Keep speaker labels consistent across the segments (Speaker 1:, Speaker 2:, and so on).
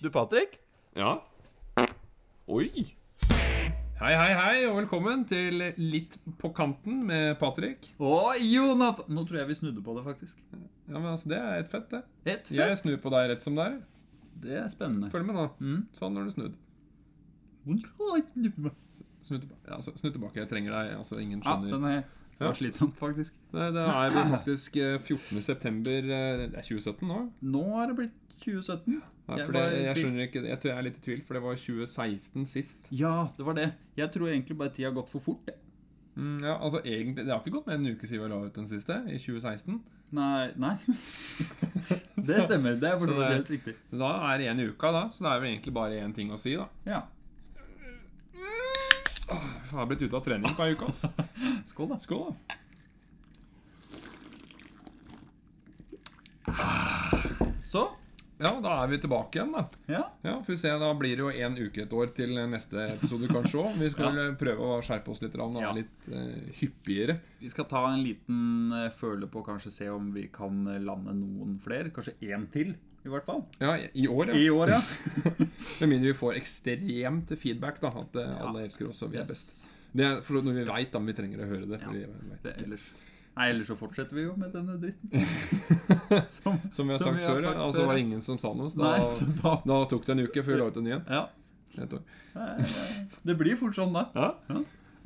Speaker 1: Du, Patrick?
Speaker 2: Ja. Oi.
Speaker 3: Hei, hei, hei, og velkommen til Litt på kanten med Patrick.
Speaker 1: Og Jonathan! Nå tror jeg vi snudde på det, faktisk.
Speaker 3: Ja, men altså, Det er helt fett, det.
Speaker 1: Helt
Speaker 3: Jeg
Speaker 1: fett.
Speaker 3: snur på deg rett som det er.
Speaker 1: Det er spennende.
Speaker 3: Følg med nå.
Speaker 1: Mm.
Speaker 3: Sånn når du snudd. Snu tilbake. Ja, altså, snu tilbake. Jeg trenger deg. altså Ingen
Speaker 1: Ja,
Speaker 3: skjønner.
Speaker 1: den er det var slitsom, faktisk.
Speaker 3: Nei, det er vel faktisk eh, 14. september eh, Det er 2017 nå?
Speaker 1: Nå er det blitt 2017.
Speaker 3: Nei,
Speaker 1: Jeg
Speaker 3: for det,
Speaker 1: var i
Speaker 3: jeg
Speaker 1: tvil.
Speaker 3: skjønner ikke Jeg tror jeg er litt i tvil, for det var 2016 sist.
Speaker 1: Ja, det var det. Jeg tror egentlig bare tida har gått for fort. jeg.
Speaker 3: Mm, ja, altså egentlig Det har ikke gått mer enn en uke siden vi la ut den siste, i 2016.
Speaker 1: Nei. nei. Det stemmer. Det er for
Speaker 3: så
Speaker 1: så vidt
Speaker 3: det-
Speaker 1: helt riktig.
Speaker 3: Da er det én i uka, da, så det er vel egentlig bare én ting å si, da.
Speaker 1: Ja.
Speaker 3: Jeg har blitt ute av trening på ei uke, ass.
Speaker 1: Skål, da.
Speaker 3: Skål, da.
Speaker 1: Så.
Speaker 3: Ja, da er vi tilbake igjen, da.
Speaker 1: Ja.
Speaker 3: Ja, får vi se, Da blir det jo én uke et år til neste episode, kanskje òg. Vi skal vel prøve å skjerpe oss litt og være
Speaker 1: Ja.
Speaker 3: litt eh, hyppigere.
Speaker 1: Vi skal ta en liten eh, føle på, kanskje se om vi kan eh, lande noen flere. Kanskje én til, i hvert fall.
Speaker 3: Ja, i- i år,
Speaker 1: I
Speaker 3: ja.
Speaker 1: år, ja.
Speaker 3: Med mindre vi får ekstremt feedback, da. At eh, alle elsker oss og vi er best. Det er for når vi veit om vi trenger å høre det. Fordi, vi vet
Speaker 1: Det,
Speaker 3: ikke.
Speaker 1: ellers. Nei, ellers så fortsetter vi jo med denne dritten. Som,
Speaker 3: Som vi har
Speaker 1: som
Speaker 3: sagt før, ja, og så
Speaker 1: før, ja.
Speaker 3: var det ingen som sa noe, så
Speaker 1: Nei, så
Speaker 3: da,
Speaker 1: da
Speaker 3: da tok det en uke før vi la ut en ny en.
Speaker 1: Ja.
Speaker 3: Et år.
Speaker 1: Det blir fort sånn, da.
Speaker 3: Ja.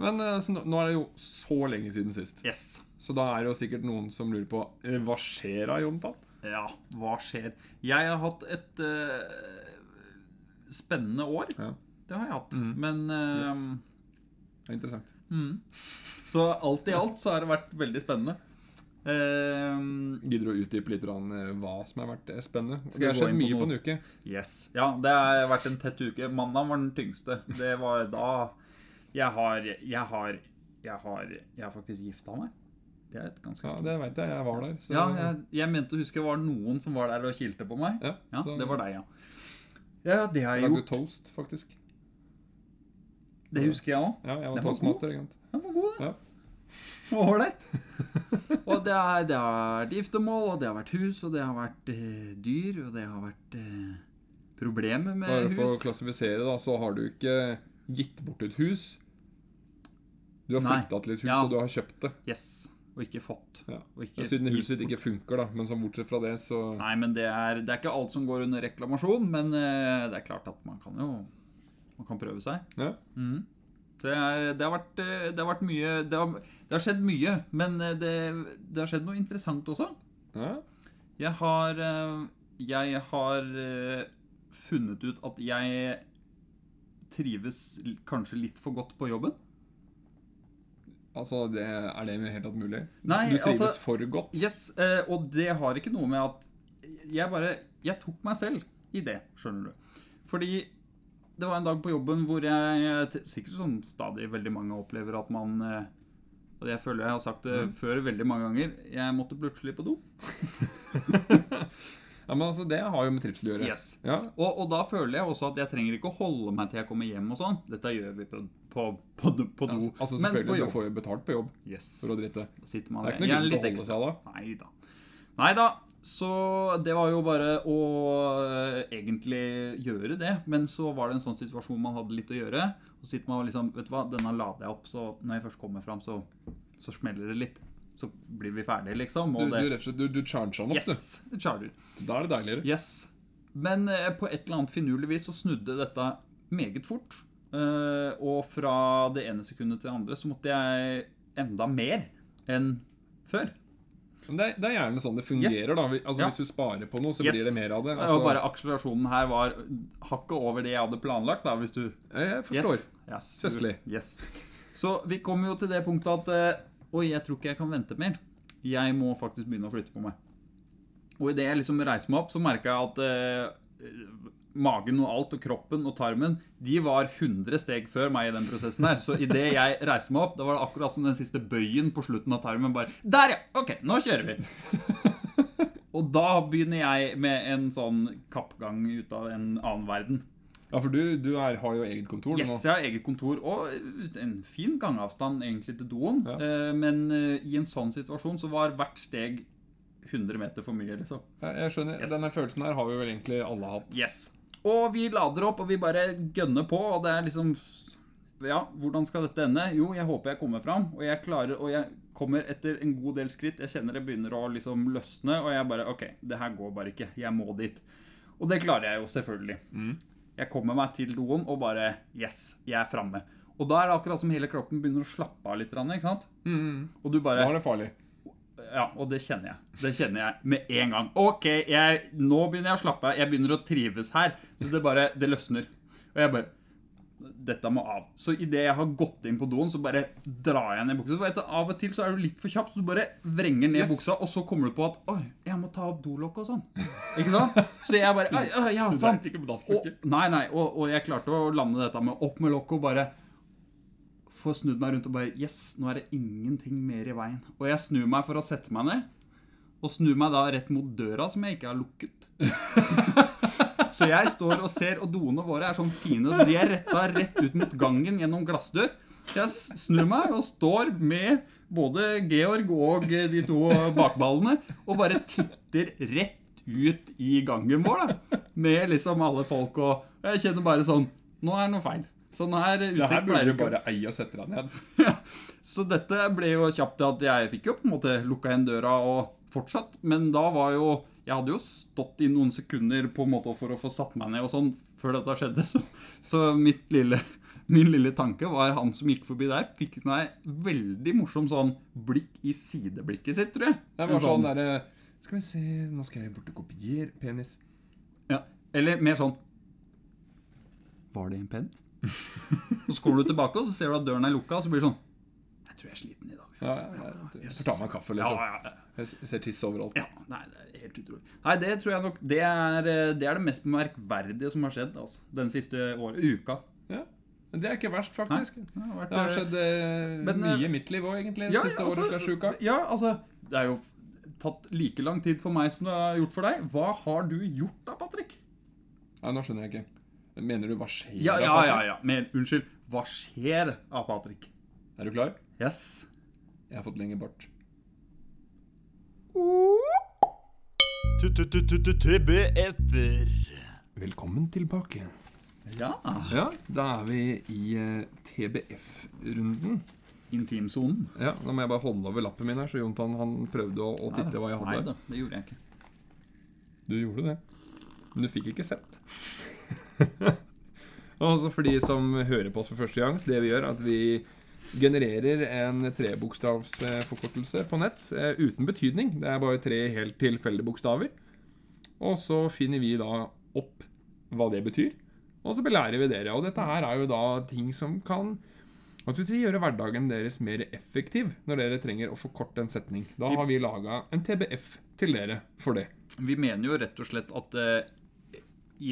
Speaker 3: Men eh, så nå nå er det jo så lenge siden sist,
Speaker 1: Yes.
Speaker 3: så da er det jo sikkert noen som lurer på eh, Hva skjer da, Jontan?
Speaker 1: Ja, hva skjer? Jeg har hatt et eh, spennende år.
Speaker 3: Ja.
Speaker 1: Det har jeg hatt.
Speaker 3: Mhm.
Speaker 1: Men eh,
Speaker 3: Yes. Det er interessant.
Speaker 1: mhm. Så alt i alt så har det vært veldig spennende. Eh,
Speaker 3: Gidder du å utdype litt grann, eh, hva som har vært eh, spennende?
Speaker 1: Skal
Speaker 3: Det har
Speaker 1: jeg gå
Speaker 3: skjedd
Speaker 1: inn på
Speaker 3: mye på en
Speaker 1: noe?
Speaker 3: uke.
Speaker 1: Yes. Ja, det har vært en tett uke. Mandag var den tyngste. Det var da jeg har Jeg har Jeg har, jeg har faktisk gifta meg. Det er et ganske
Speaker 3: Ja,
Speaker 1: stort-
Speaker 3: Det veit jeg. Jeg var der. Så
Speaker 1: ja, jeg, jeg mente å huske det var noen som var der og kilte på meg.
Speaker 3: ja,
Speaker 1: Ja,
Speaker 3: så
Speaker 1: det var deg, ja. Ja, det har
Speaker 3: Jeg
Speaker 1: jeg
Speaker 3: lagde
Speaker 1: gjort.
Speaker 3: toast, faktisk.
Speaker 1: Det husker jeg òg.
Speaker 3: Ja, jeg var
Speaker 1: Den var
Speaker 3: toastmaster. ikke sant?
Speaker 1: Den var god,
Speaker 3: Ja.
Speaker 1: den. Ålreit. Og det har, det har vært giftermål, og det har vært hus, og det har vært eh, dyr, og det har vært eh, problemer med
Speaker 3: Bare for å
Speaker 1: hus.
Speaker 3: klassifisere, da, så har du ikke gitt bort et hus. Du har
Speaker 1: Nei.
Speaker 3: flytta til et hus,
Speaker 1: Ja.
Speaker 3: og du har kjøpt det.
Speaker 1: Yes. Og ikke fått.
Speaker 3: Ja.
Speaker 1: Og ikke
Speaker 3: Ja, siden
Speaker 1: gitt
Speaker 3: huset ditt ikke funker, da. Men sånn bortsett fra det, så
Speaker 1: Nei, men det er, det er ikke alt som går under reklamasjon, men eh, det er klart at man kan jo Man kan prøve seg.
Speaker 3: ja.
Speaker 1: Mhm. Det, er, det, har vært, eh, det har vært mye Det har, det har skjedd mye, men eh, det, det har skjedd noe interessant også.
Speaker 3: ja.
Speaker 1: Jeg har eh, Jeg har eh, funnet ut at jeg trives l- kanskje litt for godt på jobben.
Speaker 3: Altså, det, er det helt tatt mulig?
Speaker 1: Nei,
Speaker 3: du trives
Speaker 1: altså-
Speaker 3: for godt?
Speaker 1: Yes, eh, og det har ikke noe med at Jeg bare Jeg tok meg selv i det, skjønner du. Fordi det var en dag på jobben hvor jeg t- Sikkert sånn stadig veldig mange opplever at man eh, Og jeg føler jeg har sagt
Speaker 3: Mm.
Speaker 1: det før veldig mange ganger Jeg måtte plutselig på do.
Speaker 3: Ja, men altså, Det har jo med trivsel å gjøre.
Speaker 1: Yes.
Speaker 3: Ja,
Speaker 1: Og, og da føler jeg også at jeg trenger ikke å holde meg til jeg kommer hjem og sånn. Dette gjør vi på, på, på, do- på do.
Speaker 3: altså, altså
Speaker 1: Men på
Speaker 3: selvfølgelig, du
Speaker 1: jobb.
Speaker 3: får jo betalt på jobb
Speaker 1: Yes.
Speaker 3: for å drite.
Speaker 1: Da sitter man
Speaker 3: Det er
Speaker 1: der.
Speaker 3: ikke noe grunn til
Speaker 1: Jeg
Speaker 3: å
Speaker 1: er
Speaker 3: holde
Speaker 1: litt Nei
Speaker 3: seg da.
Speaker 1: da. Nei da. Så det var jo bare å eh, egentlig gjøre det. Men så var det en sånn situasjon man hadde litt å gjøre. Og så sitter man og liksom Vet du hva, denne lader jeg opp, så når jeg først kommer fram, så, så smeller det litt. Så blir vi ferdige, liksom.
Speaker 3: Du,
Speaker 1: Og
Speaker 3: du
Speaker 1: det
Speaker 3: rett og slett, du, du charger den opp,
Speaker 1: Yes! det Charter.
Speaker 3: du. Da er det deiligere.
Speaker 1: Yes. Men eh, på et eller annet finurlig vis så snudde dette meget fort. Eh, og fra det ene sekundet til det andre så måtte jeg enda mer enn før.
Speaker 3: Men det, er, det er gjerne sånn det fungerer.
Speaker 1: Yes.
Speaker 3: da Vi- Altså
Speaker 1: Ja.
Speaker 3: Hvis du sparer på noe, så
Speaker 1: Yes.
Speaker 3: blir det mer av det.
Speaker 1: og
Speaker 3: Altså,
Speaker 1: bare akselerasjonen her var hakket over det jeg hadde planlagt, da, hvis du
Speaker 3: Jeg forstår.
Speaker 1: Yes. Yes.
Speaker 3: Festlig.
Speaker 1: Yes. Så vi kom jo til det punktet at eh, Oi, jeg tror ikke jeg kan vente mer. Jeg må faktisk begynne å flytte på meg. Og idet jeg liksom reiser meg opp, så merka jeg at eh, magen og alt, og kroppen og tarmen, de var 100 steg før meg i den prosessen her. Så idet jeg reiser meg opp, da var det akkurat som den siste bøyen på slutten av tarmen. Bare Der, ja! Ok, nå kjører vi! Og da begynner jeg med en sånn kappgang ut av en annen verden.
Speaker 3: Ja, For du, du er, har jo eget kontor
Speaker 1: Yes,
Speaker 3: nå.
Speaker 1: jeg har eget kontor og eh, ut- en fin gangavstand egentlig til doen.
Speaker 3: Ja.
Speaker 1: Eh, Men eh, i en sånn situasjon så var hvert steg 100 meter for mye, liksom.
Speaker 3: Jeg, jeg skjønner,
Speaker 1: Yes.
Speaker 3: Denne følelsen her har vi vel egentlig alle hatt.
Speaker 1: Yes. Og vi lader opp, og vi bare gønner på, og det er liksom Ja, hvordan skal dette ende? Jo, jeg håper jeg kommer fram, og jeg klarer Og jeg kommer etter en god del skritt. Jeg kjenner det begynner å liksom løsne, og jeg bare OK, det her går bare ikke. Jeg må dit. Og det klarer jeg jo, selvfølgelig. Jeg kommer meg til doen og bare Yes, jeg er framme. Og da er det akkurat som hele kroppen begynner å slappe av litt, grann, ikke sant? Og du bare
Speaker 3: Da er det farlig.
Speaker 1: ja, og det kjenner jeg. Det kjenner jeg med en gang. Ok, jeg, nå begynner jeg å slappe av. Jeg begynner å trives her. Så det bare Det løsner. Og jeg bare Dette må av. Så idet jeg har gått inn på doen, så bare drar jeg ned buksa. For vet du, Av og til så er du litt for kjapp, så du bare vrenger ned
Speaker 3: Yes.
Speaker 1: buksa, og så kommer du på at Oi, jeg må ta opp dolokket og sånn. Ikke sant? Så jeg bare Oi, oi, ja, sant.
Speaker 2: Ikke på
Speaker 1: Og,
Speaker 2: dasslokket.
Speaker 1: nei, nei, og, og jeg klarte å lande dette med opp med lokket og bare få snudd meg rundt og bare Yes, nå er det ingenting mer i veien. Og jeg snur meg for å sette meg ned, og snur meg da rett mot døra som jeg ikke har lukket. så jeg står og ser, og doene våre er sånn fine, så de er retta rett ut mot gangen gjennom glassdør. Så jeg s- snur meg og står med både Georg og eh, de to bakballene og bare titter rett ut i gangen vår, da. Med liksom alle folk og og Jeg kjenner bare sånn Nå er det noe feil. Sånn her eh,
Speaker 3: Det her
Speaker 1: utsikt
Speaker 3: burde
Speaker 1: pleier
Speaker 3: du
Speaker 1: ikke å
Speaker 3: bare eie og sette deg ned.
Speaker 1: så dette ble jo kjapt til at jeg fikk jo på en måte lukka igjen døra og fortsatt, men da var jo Jeg hadde jo stått i noen sekunder på en måte for å få satt meg ned og sånn før dette skjedde, så, så mitt lille Min lille tanke var han som gikk forbi der, fikk meg veldig morsom sånn blikk i sideblikket sitt, tror jeg.
Speaker 3: Det
Speaker 1: En
Speaker 3: var sånn derre Skal vi se Nå skal jeg bort og kopiere penis.
Speaker 1: Ja. Eller mer sånn Var det en penn? og så kommer du tilbake, og så ser du at døren er lukka, og så blir du sånn Jeg tror jeg er sliten i dag.
Speaker 3: Ja, ja, ja. Jeg får ta meg en kaffe, liksom.
Speaker 1: ja, ja.
Speaker 3: Jeg ser tiss overalt.
Speaker 1: Ja, nei, det er helt utrolig. Nei, det tror jeg nok Det er eh, det, er det mest merkverdige som har skjedd altså, den siste år, uka.
Speaker 3: Ja. Men det er ikke verst, faktisk.
Speaker 1: Det har vært,
Speaker 3: Det har
Speaker 1: eh,
Speaker 3: skjedd eh,
Speaker 1: Men, eh,
Speaker 3: mye i mitt liv òg, egentlig.
Speaker 1: ja,
Speaker 3: siste
Speaker 1: ja, altså,
Speaker 3: året slash uka.
Speaker 1: Ja, altså Det er jo f- tatt like lang tid for meg som det har gjort for deg. Hva har du gjort da, Patrick?
Speaker 3: Nei, nå skjønner jeg ikke. Mener du hva skjer?
Speaker 1: Ja,
Speaker 3: da,
Speaker 1: ja, ja.
Speaker 3: Patrick?
Speaker 1: ja. Men unnskyld. Hva skjer av Patrick?
Speaker 3: Er du klar?
Speaker 1: Yes.
Speaker 3: Jeg har fått lengre bart.
Speaker 2: TBF-er.
Speaker 3: Velkommen tilbake.
Speaker 1: Ja.
Speaker 3: Ja, da er vi i eh, TBF-runden.
Speaker 1: Intimsonen.
Speaker 3: Ja, Da må jeg bare holde over lappen min her, så Jontan han prøvde å, å titte hva jeg
Speaker 1: Nei
Speaker 3: hadde.
Speaker 1: da, det gjorde jeg ikke.
Speaker 3: Du gjorde det. Men du fikk ikke sett. altså For de som hører på oss for første gang, så det vi gjør, er at vi genererer en trebokstavsforkortelse på nett eh, uten betydning. Det er bare tre helt tilfeldige bokstaver. Og så finner vi da opp hva det betyr, og så belærer vi dere. Og dette her er jo da ting som kan hva skal vi si, gjøre hverdagen deres mer effektiv når dere trenger å forkorte en setning. Da har vi laga en TBF til dere for det.
Speaker 1: Vi mener jo rett og slett at eh,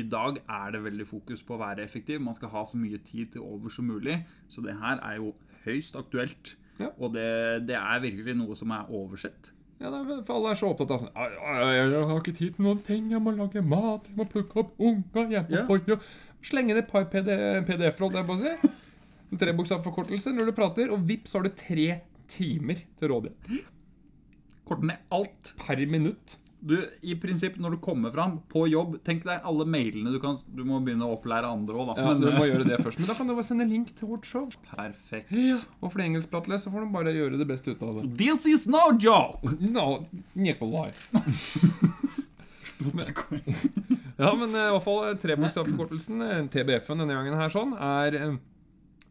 Speaker 1: i dag er det veldig fokus på å være effektiv. Man skal ha så mye tid til over som mulig. Så det her er jo høyst aktuelt.
Speaker 3: Ja.
Speaker 1: Og det, det er virkelig noe som er oversett.
Speaker 3: Ja, det er, for alle er så opptatt av sånn «Ai, ai, ai, Jeg har ikke tid til noen ting. Jeg må lage mat. Jeg må plukke opp unger. Jeg må
Speaker 1: Ja.
Speaker 3: boie». Slenge ned et par PD PDF-er, holdt jeg på å si. En Trebokstavforkortelse når du prater, og vips så har du tre timer til rådighet.
Speaker 1: Korte ned alt.
Speaker 3: Per minutt.
Speaker 1: Du, I prinsipp, når du kommer fram på jobb Tenk deg alle mailene du kan Du må begynne å opplære andre òg, da.
Speaker 3: Ja, du
Speaker 1: Men, eh,
Speaker 3: må gjøre det først. eh, Men da kan du bare sende link til vårt show.
Speaker 1: perfekt.
Speaker 3: Og for de engelskpratende så får de bare gjøre det beste ut av det.
Speaker 1: This is no joke!
Speaker 3: No, Nikolai. Ja, men eh, i hvert fall eh, trebokstavforkortelsen, eh, TBF-en denne gangen her sånn, er eh,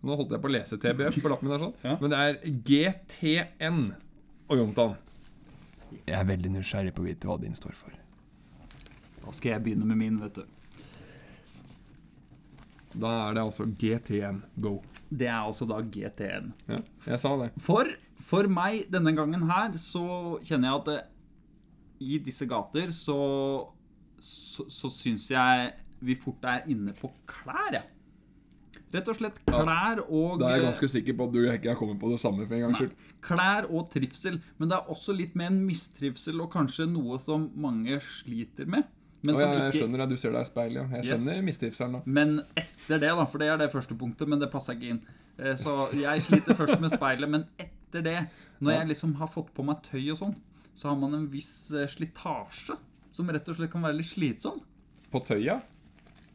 Speaker 3: Nå holdt jeg på å lese TBF på lappen min her sånn,
Speaker 1: Ja.
Speaker 3: men det er GTN og Jontan. Jeg er veldig nysgjerrig på å vite hva din står for.
Speaker 1: Da skal jeg begynne med min, vet du.
Speaker 3: Da er det altså GTN Go.
Speaker 1: Det er altså da GTN.
Speaker 3: Ja, jeg sa det.
Speaker 1: For, for meg denne gangen her, så kjenner jeg at det, i disse gater så, så, så syns jeg vi fort er inne på klær, jeg. Rett og slett klær og eh,
Speaker 3: Da er jeg ganske sikker på at du ikke har kommet på det samme for en gangs skyld.
Speaker 1: Klær og trivsel. Men det er også litt med en mistrivsel og kanskje noe som mange sliter med. Men,
Speaker 3: Å,
Speaker 1: som
Speaker 3: ja, jeg
Speaker 1: ikke,
Speaker 3: skjønner deg, du ser deg i speilet, ja.
Speaker 1: Yes.
Speaker 3: Jeg skjønner mistrivselen nå.
Speaker 1: men etter det, da, for det er det første punktet, men det passa ikke inn. Eh, Så jeg sliter først med speilet, men etter det, når
Speaker 3: Ja.
Speaker 1: jeg liksom har fått på meg tøy og sånn, så har man en viss eh, slitasje som rett og slett kan være litt slitsom.
Speaker 3: På tøya?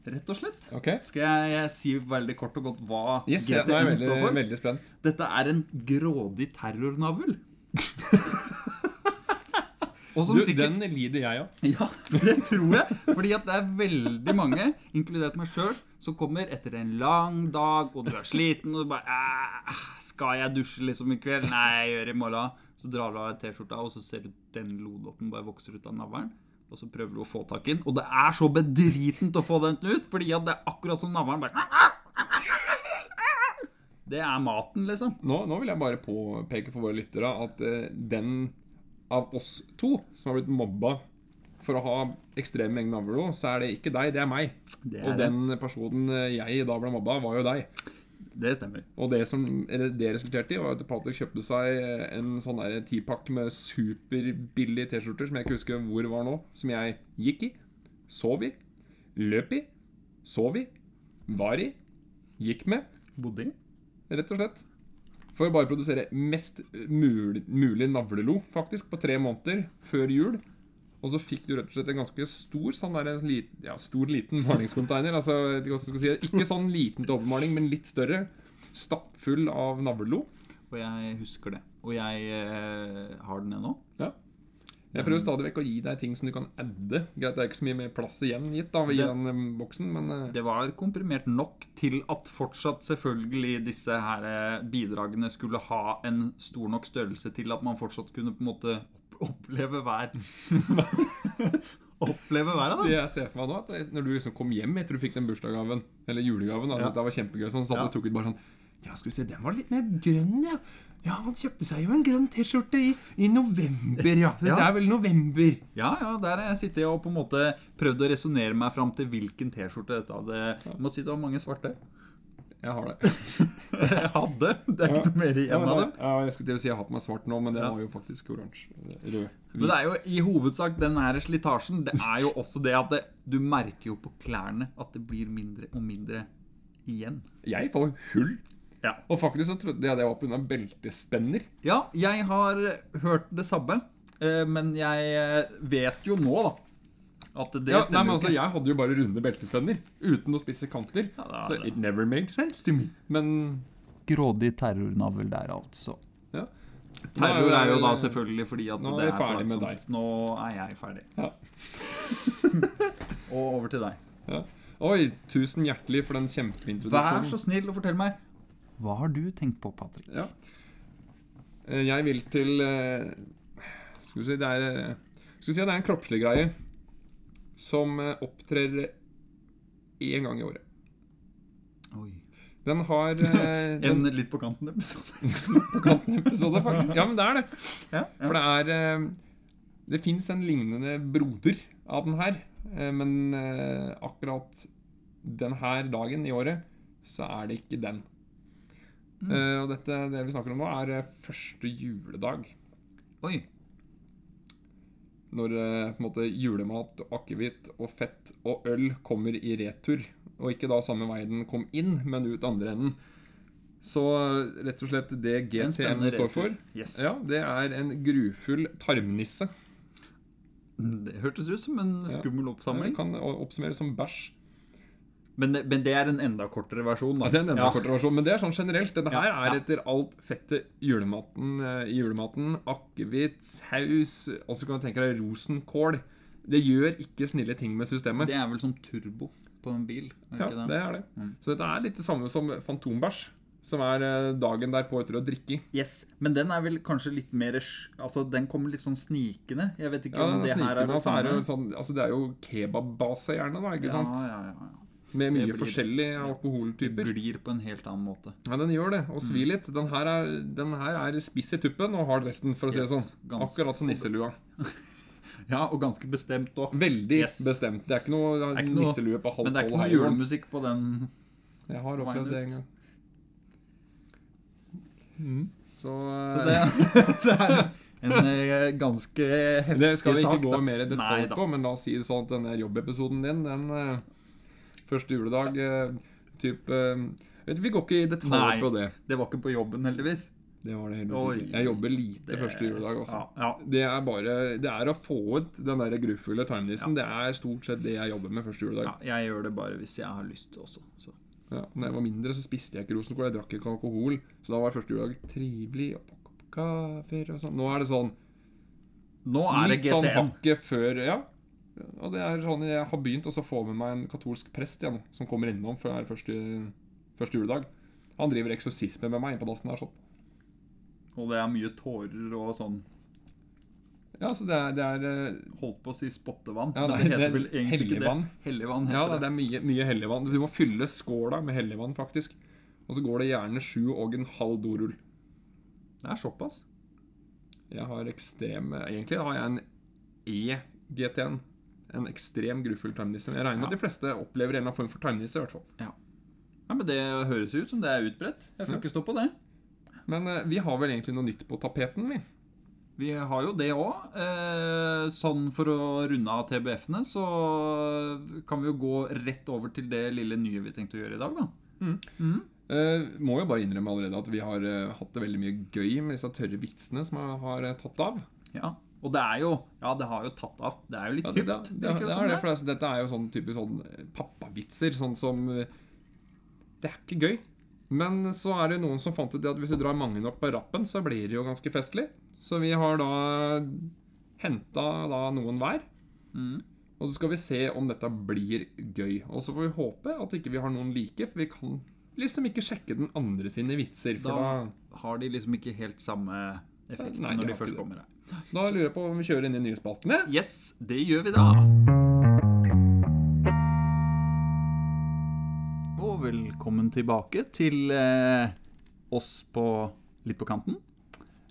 Speaker 1: rett og slett.
Speaker 3: Ok?
Speaker 1: Skal jeg, jeg si veldig kort og godt hva
Speaker 3: Yes, ja, nå er
Speaker 1: GTN
Speaker 3: jeg
Speaker 1: står
Speaker 3: veldig,
Speaker 1: for?
Speaker 3: veldig spent.
Speaker 1: Dette er en grådig terrornavl. og som
Speaker 3: Du,
Speaker 1: sikkert
Speaker 3: den lider jeg òg.
Speaker 1: Ja, det tror jeg. Fordi at det er veldig mange, inkludert meg sjøl, som kommer etter en lang dag, og du er sliten, og du bare «Æh, Skal jeg dusje liksom i kveld? Nei, jeg gjør det i morgen. Så drar du av deg T-skjorta, og så ser du den lodotten bare vokser ut av navlen. Og så prøver du å få tak i den, og det er så bedritent å få den ut, fordi at det er akkurat som navlen bare "Ah, Det er maten, liksom.
Speaker 3: Nå, nå vil jeg bare påpeke for våre lyttere at eh, den av oss to som har blitt mobba for å ha ekstrem mengde navlelo, så er det ikke deg, det er meg.
Speaker 1: Det,
Speaker 3: Og
Speaker 1: er det.
Speaker 3: den personen eh, jeg da ble mobba, var jo deg.
Speaker 1: det stemmer.
Speaker 3: Og det som eller det resulterte i, var at Patrick kjøpte seg eh, en sånn der tipakk med superbillige T-skjorter som jeg ikke husker hvor var nå, som jeg gikk i, sov i, løp i, sov i, var i, gikk med.
Speaker 1: Bodde i.
Speaker 3: rett og slett. For å bare produsere mest mulig, mulig navlelo, faktisk, på tre måneder før jul. Og så fikk du rett og slett en ganske stor sånn der, en lit, ja, stor liten malingscontainer. Altså, jeg vet ikke hva jeg skal si. Ikke sånn liten til overmaling, men litt større. Stappfull av navlelo.
Speaker 1: Og jeg husker det. Og jeg eh, har den ennå.
Speaker 3: Ja. Jeg prøver stadig vekk å gi deg ting som du kan adde. Greit, det er ikke så mye mer plass igjen gitt da, i
Speaker 1: Det-
Speaker 3: den eh, boksen, men eh,
Speaker 1: Det var komprimert nok til at fortsatt selvfølgelig disse her eh, bidragene skulle ha en stor nok størrelse til at man fortsatt kunne på en måte opp- oppleve hver Oppleve hver av
Speaker 3: Det
Speaker 1: dem.
Speaker 3: jeg ser for meg nå, at når du liksom kom hjem etter du fikk den bursdagsgaven, eller julegaven, at
Speaker 1: Ja.
Speaker 3: dette var kjempegøy, sånn, satt
Speaker 1: Ja.
Speaker 3: og tok ut bare sånn Ja, skal vi se, den var litt mer grønn, ja. Ja, han kjøpte seg jo en grønn T-skjorte i, i november, ja. Så
Speaker 1: Ja.
Speaker 3: det er vel november.
Speaker 1: Ja, ja, der har jeg sittet og på en måte prøvd å resonnere meg fram til hvilken T-skjorte dette hadde Jeg må si det var mange svarte.
Speaker 3: Jeg har det.
Speaker 1: Jeg hadde. Det er ikke noe mer
Speaker 3: Ja,
Speaker 1: igjen av dem.
Speaker 3: ja, jeg skulle til å si jeg har på meg svart nå, men det
Speaker 1: Ja.
Speaker 3: var jo faktisk oransje. eh, Rød. hvit.
Speaker 1: Men det er jo i hovedsak den her slitasjen. Det er jo også det at det, du merker jo på klærne at det blir mindre og mindre igjen.
Speaker 3: Jeg får hull.
Speaker 1: Ja.
Speaker 3: Og faktisk så trodde jeg det var pga. beltespenner.
Speaker 1: Ja, jeg har hørt det samme, eh, men jeg eh, vet jo nå, da, at det
Speaker 3: Ja, nei,
Speaker 1: stemmer
Speaker 3: men
Speaker 1: jo
Speaker 3: altså,
Speaker 1: ikke.
Speaker 3: jeg hadde jo bare runde beltespenner uten å spisse kanter.
Speaker 1: Ja, det er
Speaker 3: så
Speaker 1: det.
Speaker 3: it never made sense to me. Men
Speaker 1: Grådig terrornavl der, altså.
Speaker 3: Ja.
Speaker 1: Terror
Speaker 3: Nå er
Speaker 1: er
Speaker 3: vi
Speaker 1: jo
Speaker 3: vel-
Speaker 1: da selvfølgelig fordi at
Speaker 3: nå er
Speaker 1: det
Speaker 3: vi
Speaker 1: er
Speaker 3: ferdig med
Speaker 1: plagsomt. Nå er jeg ferdig.
Speaker 3: Ja.
Speaker 1: Og over til deg.
Speaker 3: Ja. Oi, tusen hjertelig for den kjempeintroduksjonen.
Speaker 1: Vær så snill og fortell meg Hva har du tenkt på, Patrick?
Speaker 3: Ja. Eh, Jeg vil til eh, Skal vi si det er eh, Skal vi si det er en kroppslig greie som eh, opptrer én gang i året.
Speaker 1: Oi.
Speaker 3: Den har eh,
Speaker 1: En
Speaker 3: den,
Speaker 1: litt på kanten-episode.
Speaker 3: på kanten episode, faktisk. Ja, men det er det.
Speaker 1: Ja, ja.
Speaker 3: For det er eh, Det fins en lignende broder av den her, eh, men eh, akkurat den her dagen i året, så er det ikke den.
Speaker 1: Mm.
Speaker 3: Eh, Og dette, det vi snakker om nå, er eh, første juledag.
Speaker 1: Oi.
Speaker 3: Når eh, på en måte julemat, akevitt og fett og øl kommer i retur. Og ikke da samme vei den kom inn, men ut andre enden. Så eh, rett og slett det
Speaker 1: En
Speaker 3: GTN
Speaker 1: spennende
Speaker 3: står
Speaker 1: retur.
Speaker 3: for,
Speaker 1: Yes.
Speaker 3: ja, det er en grufull tarmnisse.
Speaker 1: Det hørtes ut som en skummel
Speaker 3: Det
Speaker 1: oppsamling.
Speaker 3: kan o- oppsummeres som bæsj.
Speaker 1: Men det, men det er en enda kortere versjon. Da.
Speaker 3: Ja, det er en enda kortere versjon, men det er sånn generelt. Dette her
Speaker 1: Ja,
Speaker 3: er
Speaker 1: ja.
Speaker 3: etter alt fettet julematen, eh, i julematen. Akevitt, saus, og så kan du tenke deg rosenkål. Det gjør ikke snille ting med systemet.
Speaker 1: Det er vel som turbo på en bil? Er
Speaker 3: Ja,
Speaker 1: ikke Mm.
Speaker 3: det er det. Så dette er litt det samme som fantombæsj, som er eh, dagen derpå etter å drikke. i.
Speaker 1: Yes, Men den er vel kanskje litt mer sj- Altså, Den kommer litt sånn snikende. Jeg vet ikke
Speaker 3: Ja,
Speaker 1: om det her er
Speaker 3: snikende,
Speaker 1: det
Speaker 3: så er det,
Speaker 1: samme.
Speaker 3: jo sånn, altså det er jo kebabbase gjerne, da, ikke
Speaker 1: Ja,
Speaker 3: sant?
Speaker 1: ja, ja, ja.
Speaker 3: Med mye
Speaker 1: Det blir-
Speaker 3: forskjellige alkoholtyper.
Speaker 1: Glir på en helt annen måte.
Speaker 3: Ja, den gjør det, og
Speaker 1: Mm.
Speaker 3: svir litt. Den her er, den her er spiss i tuppen og hard resten, for å si det sånn.
Speaker 1: Yes, ganske.
Speaker 3: Akkurat som nisselua.
Speaker 1: Ja, og ganske bestemt òg.
Speaker 3: Veldig
Speaker 1: Yes.
Speaker 3: bestemt. Det er ikke noe,
Speaker 1: er ikke noe-
Speaker 3: nisselue på halv
Speaker 1: Men det er ikke
Speaker 3: tolv
Speaker 1: noe
Speaker 3: her i gården.
Speaker 1: julemusikk på den.
Speaker 3: Jeg har opplevd det en
Speaker 1: Wine
Speaker 3: gang. Så,
Speaker 1: Mm. Så det, det er en eh, ganske heftig sak.
Speaker 3: Det skal vi ikke gå
Speaker 1: da.
Speaker 3: mer i detalj
Speaker 1: Nei da.
Speaker 3: på, men la oss si det sånn at denne jobbepisoden din, den eh, første juledag eh, typ, eh, vet du, Vi går ikke i detalj
Speaker 1: Nei.
Speaker 3: på det.
Speaker 1: Det var ikke på jobben, heldigvis.
Speaker 3: Det var det heldigvis
Speaker 1: Oi.
Speaker 3: ikke. Jeg jobber lite første juledag, altså.
Speaker 1: Ja,
Speaker 3: Det er bare Det er å få ut den der grufulle timenissen. Det er stort sett det jeg jobber med første
Speaker 1: ja,
Speaker 3: juledag.
Speaker 1: ja, jeg gjør det bare hvis jeg har lyst også. Så.
Speaker 3: Ja. Når jeg var mindre, så spiste jeg ikke rosenkål. Jeg drakk ikke alkohol. Så da var første juledag trivelig. Og pakk opp kaffer og sånn. Nå er det sånn
Speaker 1: Nå er det
Speaker 3: litt sånn
Speaker 1: GTM.
Speaker 3: hakket før Ja. Og det er sånn jeg har begynt også å få med meg en katolsk prest igjen, som kommer innom før det er første, første juledag. Han driver eksorsisme med meg inne på dassen her. sånn
Speaker 1: Og det er mye tårer og sånn
Speaker 3: Ja, så det er, det er eh,
Speaker 1: Holdt på å si spottevann.
Speaker 3: Ja,
Speaker 1: men
Speaker 3: nei,
Speaker 1: det
Speaker 3: det
Speaker 1: heter
Speaker 3: er
Speaker 1: vel egentlig ikke det.
Speaker 3: helligvann.
Speaker 1: Helligvann
Speaker 3: Ja,
Speaker 1: heter
Speaker 3: det er mye, mye helligvann. Du må fylle skåla med helligvann, faktisk. Og så går det gjerne sju og en halv dorull.
Speaker 1: det. Det er såpass.
Speaker 3: Jeg har ekstrem Egentlig har jeg en E E-GTN. En ekstrem grufull timenisse. Jeg regner med at de fleste opplever en eller annen form for timenisse, i hvert fall.
Speaker 1: Ja, men Det høres ut som det er utbredt. Jeg skal ikke stå på det.
Speaker 3: Men eh, vi har vel egentlig noe nytt på tapeten, vi.
Speaker 1: Vi har jo det òg. Eh, sånn for å runde av TBF-ene, så kan vi jo gå rett over til det lille nye vi tenkte å gjøre i dag, da.
Speaker 3: Eh, må jo bare innrømme allerede at vi har eh, hatt det veldig mye gøy med disse tørre vitsene som har, har eh, tatt av.
Speaker 1: Ja. Og det er jo Ja, det har jo tatt av. Det er jo litt
Speaker 3: Ja,
Speaker 1: hypt.
Speaker 3: det, det, det, det,
Speaker 1: virker
Speaker 3: det
Speaker 1: som
Speaker 3: er det, for altså, dette er jo sånn typisk sånn eh, pappavitser, sånn som eh, Det er ikke gøy. Men så er det noen som fant ut det at hvis du drar mange nok på rappen, så blir det jo ganske festlig. Så vi har da henta da noen hver.
Speaker 1: Mm.
Speaker 3: Og så skal vi se om dette blir gøy. Og så får vi håpe at ikke vi har noen like, for vi kan liksom ikke sjekke den andre sine vitser. For
Speaker 1: Da-
Speaker 3: da,
Speaker 1: Har de liksom ikke helt samme effekt
Speaker 3: Nei, de
Speaker 1: når
Speaker 3: har
Speaker 1: de først
Speaker 3: ikke det.
Speaker 1: kommer her?
Speaker 3: så da lurer jeg på om vi kjører inn i nye spaltene.
Speaker 1: Yes, det gjør vi da. Og velkommen tilbake til eh, oss på Litt på kanten.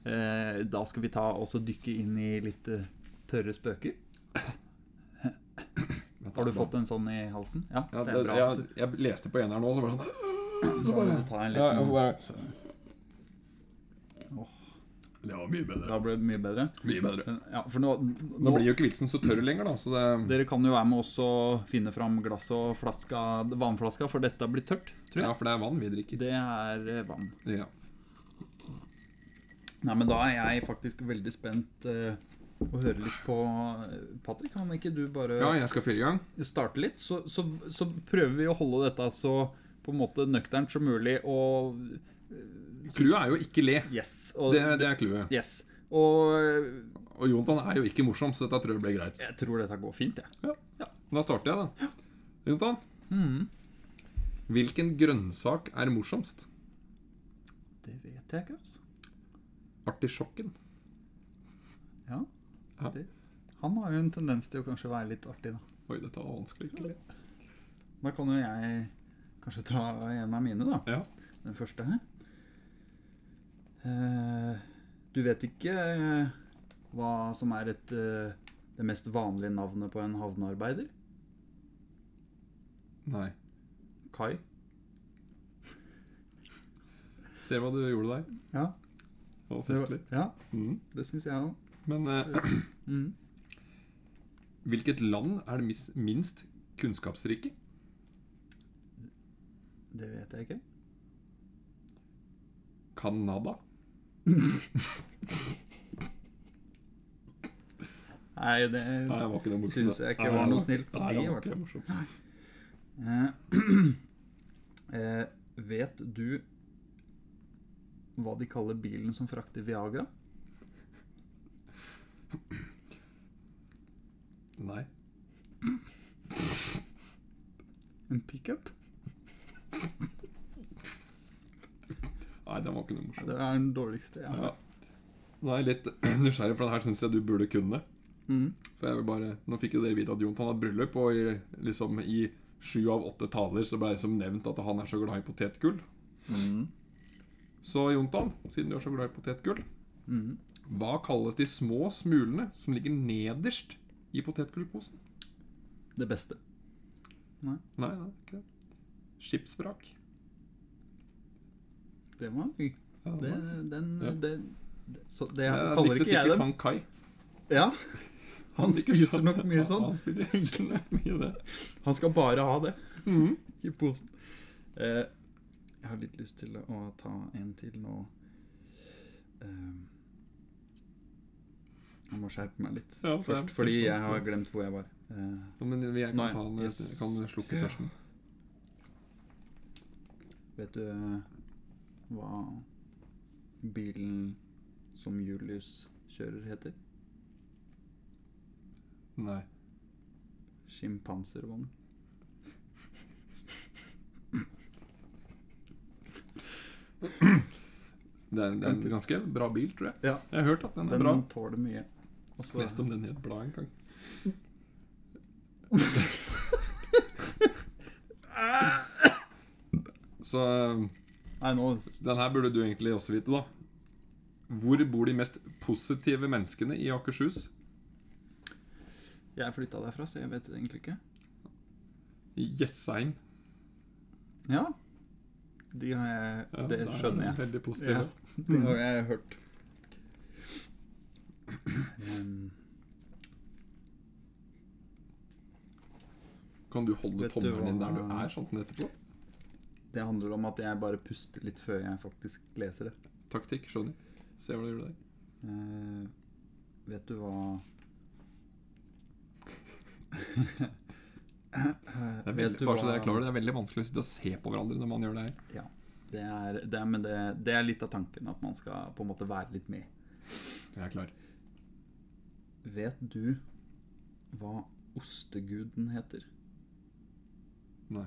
Speaker 1: Eh, da skal vi ta også dykke inn i litt eh, tørre spøker. Har du fått en sånn i halsen? Ja,
Speaker 3: ja,
Speaker 1: det er bra. at
Speaker 3: Jeg, jeg leste på en her nå, så bare sånn
Speaker 1: du- Så må du ta en
Speaker 3: ja, jeg får
Speaker 1: liten
Speaker 3: bare,
Speaker 2: Det var mye bedre.
Speaker 1: Da ble det mye bedre.
Speaker 2: Mye bedre.
Speaker 1: Men, Ja, for nå,
Speaker 3: Nå blir jo ikke vitsen så tørr lenger, da. Så det,
Speaker 1: Dere kan jo være med oss og finne fram glass og flaska, vannflaska, for dette blir tørt, tror jeg.
Speaker 3: ja, for det er vann vi drikker.
Speaker 1: Det er eh, vann.
Speaker 3: Ja.
Speaker 1: Nei, men da er jeg faktisk veldig spent eh, å høre litt på eh, Patrick, kan ikke du bare
Speaker 3: ja, jeg skal fyre i gang.
Speaker 1: starte litt? Så, så, så prøver vi å holde dette så på en måte nøkternt som mulig og
Speaker 3: Clouet er jo ikke le.
Speaker 1: Yes. Og,
Speaker 3: Det, det er clouet.
Speaker 1: yes. og eh,
Speaker 3: Og Jontan er jo ikke morsom, så dette tror jeg blir greit.
Speaker 1: jeg tror dette går fint, jeg.
Speaker 3: Da starter jeg, da. Jontan,
Speaker 1: Hmm.
Speaker 3: hvilken grønnsak er morsomst?
Speaker 1: Det vet jeg ikke, altså.
Speaker 3: Artisjokken.
Speaker 1: Ja.
Speaker 3: Ja.
Speaker 1: Det, han har jo en tendens til å kanskje være litt artig, da.
Speaker 3: Oi, dette var vanskelig. ikke det?
Speaker 1: Da kan jo jeg kanskje ta en av mine, da.
Speaker 3: Ja.
Speaker 1: Den første her. Eh, Du vet ikke eh, hva som er et, eh, det mest vanlige navnet på en havnearbeider?
Speaker 3: Nei.
Speaker 1: Kai?
Speaker 3: Ser hva du gjorde der.
Speaker 1: Ja,
Speaker 3: Det var
Speaker 1: det,
Speaker 3: festlig.
Speaker 1: var- ja,
Speaker 3: Mm.
Speaker 1: det syns jeg òg.
Speaker 3: Men eh,
Speaker 1: Mm.
Speaker 3: hvilket land er det mis- minst kunnskapsrike?
Speaker 1: Det vet jeg ikke.
Speaker 3: Canada.
Speaker 1: Nei, det
Speaker 3: Nei, det var ikke det morsomt.
Speaker 1: Synes jeg ikke
Speaker 3: Nei,
Speaker 1: var
Speaker 3: det
Speaker 1: noe snilt på
Speaker 3: Nei,
Speaker 1: de,
Speaker 3: det
Speaker 1: i
Speaker 3: var
Speaker 1: hvert
Speaker 3: ikke
Speaker 1: fall.
Speaker 3: morsomt.
Speaker 1: Eh, eh, Vet du hva de kaller bilen som frakter Viagra?
Speaker 3: Nei.
Speaker 1: En pickup?
Speaker 3: Nei, det var ikke
Speaker 1: Det
Speaker 3: noe morsomt.
Speaker 1: er den dårligste. Ja.
Speaker 3: Ja. Nå er jeg litt nysgjerrig, for den her syns jeg du burde kunne.
Speaker 1: Mm.
Speaker 3: For jeg vil bare, Nå fikk jo dere vite at Jontan har bryllup, og i, liksom i sju av åtte taler så ble det som nevnt at han er så glad i potetgull. Så Jontan, siden du er så glad i potetgull,
Speaker 1: Mm.
Speaker 3: hva kalles de små smulene som ligger nederst i potetgullposen?
Speaker 1: Det beste.
Speaker 3: Nei, nei, ikke det. Skipsvrak.
Speaker 1: Det var gøy.
Speaker 3: Ja,
Speaker 1: Det,
Speaker 3: det,
Speaker 1: den,
Speaker 3: Ja.
Speaker 1: det, det, så det
Speaker 3: jeg
Speaker 1: kaller
Speaker 3: likte
Speaker 1: ikke jeg
Speaker 3: sikkert
Speaker 1: dem.
Speaker 3: han Kai.
Speaker 1: Ja. Han spiser nok mye
Speaker 3: Ja,
Speaker 1: sånn.
Speaker 3: Han spiser nok mye det.
Speaker 1: Han skal bare ha det
Speaker 3: Mhm.
Speaker 1: i posen. Eh, jeg har litt lyst til å ta en til nå. eh, Jeg må skjerpe meg litt
Speaker 3: Ja, for det er
Speaker 1: først, fordi jeg
Speaker 3: kjempevanskelig.
Speaker 1: har glemt hvor jeg var. Eh,
Speaker 3: Ja, men jeg kan,
Speaker 1: Nei,
Speaker 3: ta den,
Speaker 1: yes.
Speaker 3: kan slukke
Speaker 1: Ja.
Speaker 3: tørsten.
Speaker 1: Vet du eh, hva bilen som Julius kjører, heter?
Speaker 3: Nei.
Speaker 1: Sjimpanservogn.
Speaker 3: Det er, det er en ganske bra bil, tror jeg.
Speaker 1: Ja.
Speaker 3: Jeg har hørt at den er
Speaker 1: Den
Speaker 3: bra.
Speaker 1: tåler mye. Og så-
Speaker 3: Leste om den i et blad en gang. Så øh,
Speaker 1: Nei, nå
Speaker 3: den her burde du egentlig også vite, da. Hvor bor de mest positive menneskene i Akershus?
Speaker 1: Jeg flytta derfra, så jeg vet det egentlig ikke.
Speaker 3: I Jessheim.
Speaker 1: Ja. De har jeg
Speaker 3: Ja,
Speaker 1: Det
Speaker 3: da er Mm.
Speaker 1: skjønner
Speaker 3: de
Speaker 1: jeg.
Speaker 3: Veldig positive.
Speaker 1: Det har jeg hørt. Em,
Speaker 3: Kan du holde
Speaker 1: Vet du
Speaker 3: tommelen din
Speaker 1: hva-
Speaker 3: der du er, sånn den etterpå?
Speaker 1: det handler om at jeg bare puster litt før jeg faktisk leser det.
Speaker 3: Taktikk, skjønner. Se hva du gjør der.
Speaker 1: Eh, vet du hva
Speaker 3: Det er veldig, bare så dere er klar, over det, det er veldig vanskelig å sitte og se på hverandre når man gjør det her.
Speaker 1: Det er, det, er, men det, det er litt av tanken, at man skal på en måte være litt med.
Speaker 3: Jeg er klar.
Speaker 1: Vet du hva osteguden heter?
Speaker 3: Nei.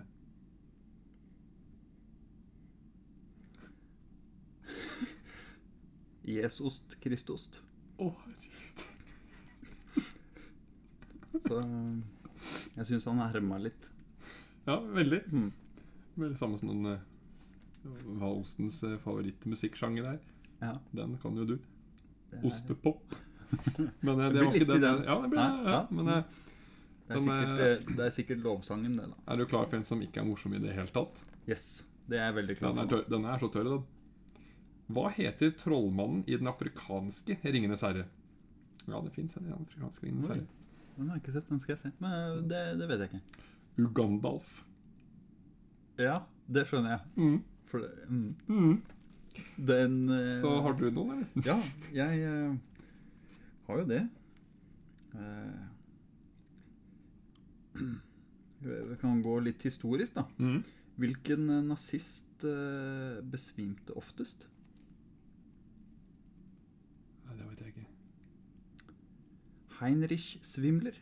Speaker 1: Jesost, Kristost.
Speaker 3: Å, herregud.
Speaker 1: Så eh, jeg syns han herma litt.
Speaker 3: ja, veldig.
Speaker 1: Hmm.
Speaker 3: Vel, samme som den eh, Hva Ostens eh, favorittmusikksjanger er.
Speaker 1: Ja,
Speaker 3: Den kan jo du.
Speaker 1: det er-
Speaker 3: Ostepop. Men eh, det,
Speaker 1: blir
Speaker 3: var
Speaker 1: litt
Speaker 3: ikke
Speaker 1: i
Speaker 3: det.
Speaker 1: den.
Speaker 3: Ja, det ble,
Speaker 1: Nei,
Speaker 3: ja,
Speaker 1: ja.
Speaker 3: men eh,
Speaker 1: Det er,
Speaker 3: Den er-
Speaker 1: sikkert, eh, det er sikkert lovsangen, det, da.
Speaker 3: er du klar for en som ikke er morsom i det hele tatt?
Speaker 1: Yes. Det er jeg veldig klar
Speaker 3: Den er,
Speaker 1: for.
Speaker 3: tør, den er så tørr, den. Hva heter trollmannen i den afrikanske Ringenes herre? Ja, det fins en i den afrikanske Ringenes
Speaker 1: Oi.
Speaker 3: herre.
Speaker 1: nå. Den har jeg ikke sett, den skal jeg se. Men eh, det, det vet jeg ikke.
Speaker 3: Ugandalf.
Speaker 1: Ja, det skjønner jeg.
Speaker 3: Mm.
Speaker 1: For det, mm,
Speaker 3: Mm.
Speaker 1: den eh,
Speaker 3: Så har du noen, eller?
Speaker 1: Ja, jeg eh, har jo det. Eh, Vi kan gå litt historisk, da.
Speaker 3: Mm.
Speaker 1: Hvilken eh, nazist eh, besvimte oftest?
Speaker 3: Nei, det vet jeg ikke.
Speaker 1: Heinrich Svimler.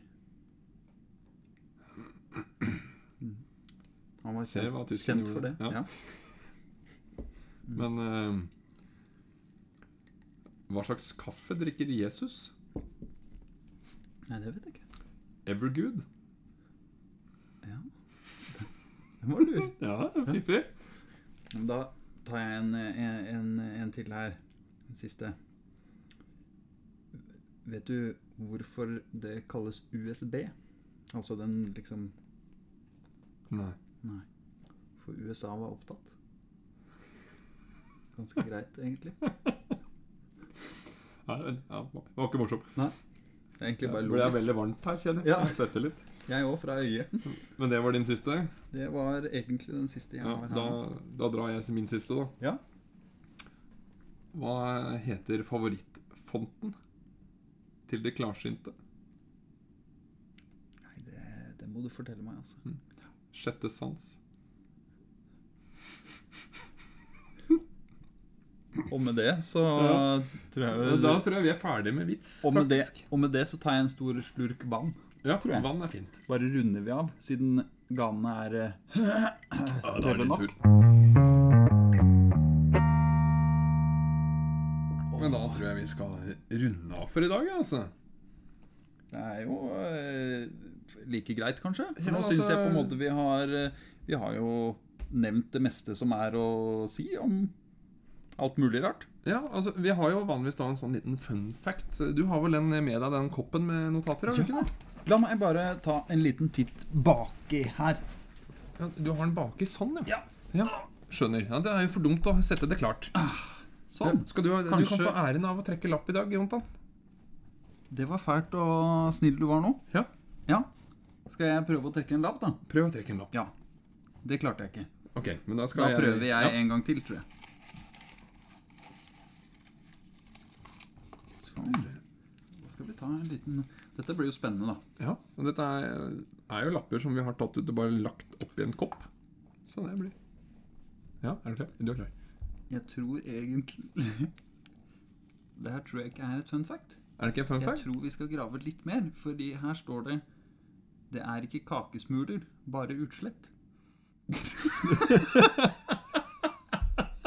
Speaker 1: Mm. Han var
Speaker 3: Ser hva
Speaker 1: kjent,
Speaker 3: tyskerne
Speaker 1: kjent for det.
Speaker 3: gjorde. Ja.
Speaker 1: Ja.
Speaker 3: Men eh, hva slags kaffe drikker Jesus?
Speaker 1: Nei, det vet jeg ikke.
Speaker 3: Evergood?
Speaker 1: Ja. Den var lur.
Speaker 3: Ja, fiffig.
Speaker 1: Men Da tar jeg en, en, en, en til her. Den siste. Vet du hvorfor det kalles USB? Altså den liksom
Speaker 3: Nei.
Speaker 1: Nei. For USA var opptatt. Ganske greit, egentlig.
Speaker 3: Nei, men, ja, det var ikke morsomt.
Speaker 1: Det er egentlig
Speaker 3: Det
Speaker 1: bare
Speaker 3: ble jeg
Speaker 1: logisk.
Speaker 3: veldig varmt her, kjenner jeg.
Speaker 1: Ja.
Speaker 3: Jeg svetter litt.
Speaker 1: Jeg òg, fra øyet.
Speaker 3: Men det var din siste?
Speaker 1: Det var egentlig den siste jeg
Speaker 3: Ja,
Speaker 1: har her.
Speaker 3: da,
Speaker 1: nå.
Speaker 3: da drar jeg til min siste, da.
Speaker 1: Ja.
Speaker 3: Hva heter favorittfonten til det klarsynte?
Speaker 1: Nei, det, det må du fortelle meg, altså.
Speaker 3: Sjette sans.
Speaker 1: Og med det så
Speaker 3: Ja.
Speaker 1: tror jeg
Speaker 3: Ja,
Speaker 1: vel
Speaker 3: Da tror jeg vi er ferdig med vits,
Speaker 1: og, med det,
Speaker 3: faktisk.
Speaker 1: og med det så tar jeg en stor slurk vann.
Speaker 3: Ja,
Speaker 1: tror jeg.
Speaker 3: vann er fint.
Speaker 1: Bare runder vi av, siden ganene er eh,
Speaker 2: Ja, da er
Speaker 1: tørre
Speaker 2: det
Speaker 1: nok.
Speaker 2: din tur.
Speaker 3: Men da tror jeg vi skal runde av for i dag, ja, altså.
Speaker 1: Det er jo eh, like greit, kanskje. For
Speaker 3: Ja,
Speaker 1: nå
Speaker 3: altså-
Speaker 1: syns jeg på en måte vi har eh, Vi har jo nevnt det meste som er å si om alt mulig rart.
Speaker 3: Ja, altså, Vi har jo vanligvis da en sånn liten fun fact. Du har vel den med deg, den koppen med notater? har du ikke det?
Speaker 1: La meg bare ta en liten titt baki her.
Speaker 3: Ja, du har den baki sånn,
Speaker 1: Ja.
Speaker 3: ja. Skjønner. Ja, det er jo for dumt å sette det klart.
Speaker 1: Sånn.
Speaker 3: Skal du, ha- du
Speaker 1: Kanskje-
Speaker 3: kan få æren av å trekke lapp i dag, Jontan.
Speaker 1: Det var fælt og snill du var nå.
Speaker 3: Ja.
Speaker 1: Ja. Skal jeg prøve å trekke en lapp, da?
Speaker 3: Prøv å trekke en lapp.
Speaker 1: Ja. Det klarte jeg ikke.
Speaker 3: Ok, men Da skal
Speaker 1: Da
Speaker 3: jeg
Speaker 1: prøver jeg
Speaker 3: ja.
Speaker 1: en gang til, tror jeg.
Speaker 2: Skal vi se.
Speaker 1: Da skal vi ta en liten Dette blir jo spennende, da.
Speaker 3: Ja, og dette er, er jo lapper som vi har tatt ut og bare lagt oppi en kopp. Så det blir Ja, er du klar? Du er klar.
Speaker 1: Jeg tror egentlig Det her tror jeg ikke er et fun fact.
Speaker 3: Er det ikke en fun
Speaker 1: Jeg
Speaker 3: fact?
Speaker 1: tror vi skal grave litt mer, fordi her står det Det er ikke kakesmuler, bare utslett.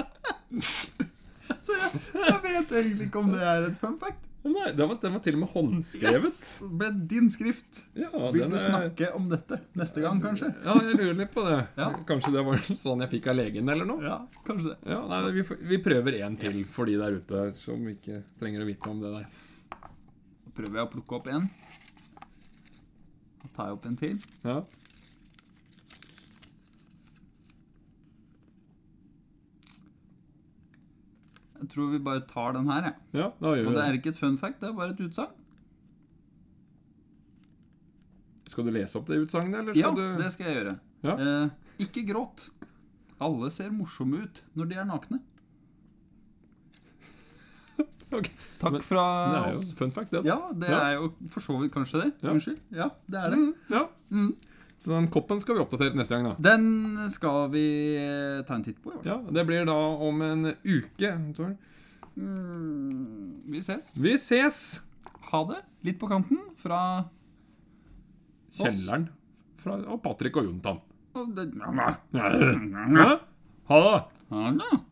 Speaker 1: Så jeg, jeg vet egentlig ikke om det er et fun fact.
Speaker 3: Nei, den var, den var til og med håndskrevet.
Speaker 1: Med din skrift.
Speaker 3: Ja,
Speaker 1: Vil
Speaker 3: den
Speaker 1: du
Speaker 3: er-
Speaker 1: snakke om dette neste gang, kanskje?
Speaker 3: Ja, jeg lurer litt på det.
Speaker 1: Ja.
Speaker 3: Kanskje det var sånn jeg fikk av legen, eller noe?
Speaker 1: Ja, kanskje det.
Speaker 3: Ja, nei, vi, får- vi prøver en til for de der ute som ikke trenger å vite om det der.
Speaker 1: Da prøver jeg å plukke opp en. Da tar jeg opp en til.
Speaker 3: Ja.
Speaker 1: Jeg tror vi bare tar den her, jeg.
Speaker 3: ja, da gjør
Speaker 1: Og
Speaker 3: vi
Speaker 1: det
Speaker 3: det.
Speaker 1: er ikke et fun fact, det er bare et utsagn.
Speaker 3: Skal du lese opp det utsagnet, eller
Speaker 1: Ja,
Speaker 3: skal du
Speaker 1: det skal jeg gjøre.
Speaker 3: Ja.
Speaker 1: Eh, ikke gråt. Alle ser morsomme ut når de er nakne.
Speaker 3: Ok.
Speaker 1: Takk
Speaker 3: Men-
Speaker 1: fra
Speaker 3: Det er jo
Speaker 1: oss.
Speaker 3: fun fact, det.
Speaker 1: Ja, det
Speaker 3: Ja.
Speaker 1: er jo for så vidt kanskje det.
Speaker 3: Ja.
Speaker 1: Unnskyld. Ja, det er det.
Speaker 3: Ja.
Speaker 1: Mm.
Speaker 3: Så den koppen skal vi oppdatere neste gang, da.
Speaker 1: Den skal vi eh, ta en titt på. i hvert fall.
Speaker 3: Ja, Det blir da om en uke. Tor.
Speaker 1: Mm, vi ses.
Speaker 3: Vi ses!
Speaker 1: Ha det. Litt på kanten fra Oss.
Speaker 3: Kjelleren. Fra, og Patrick og Jontan.
Speaker 1: Å, det-
Speaker 3: Hæ? Ha det!
Speaker 1: Ha det.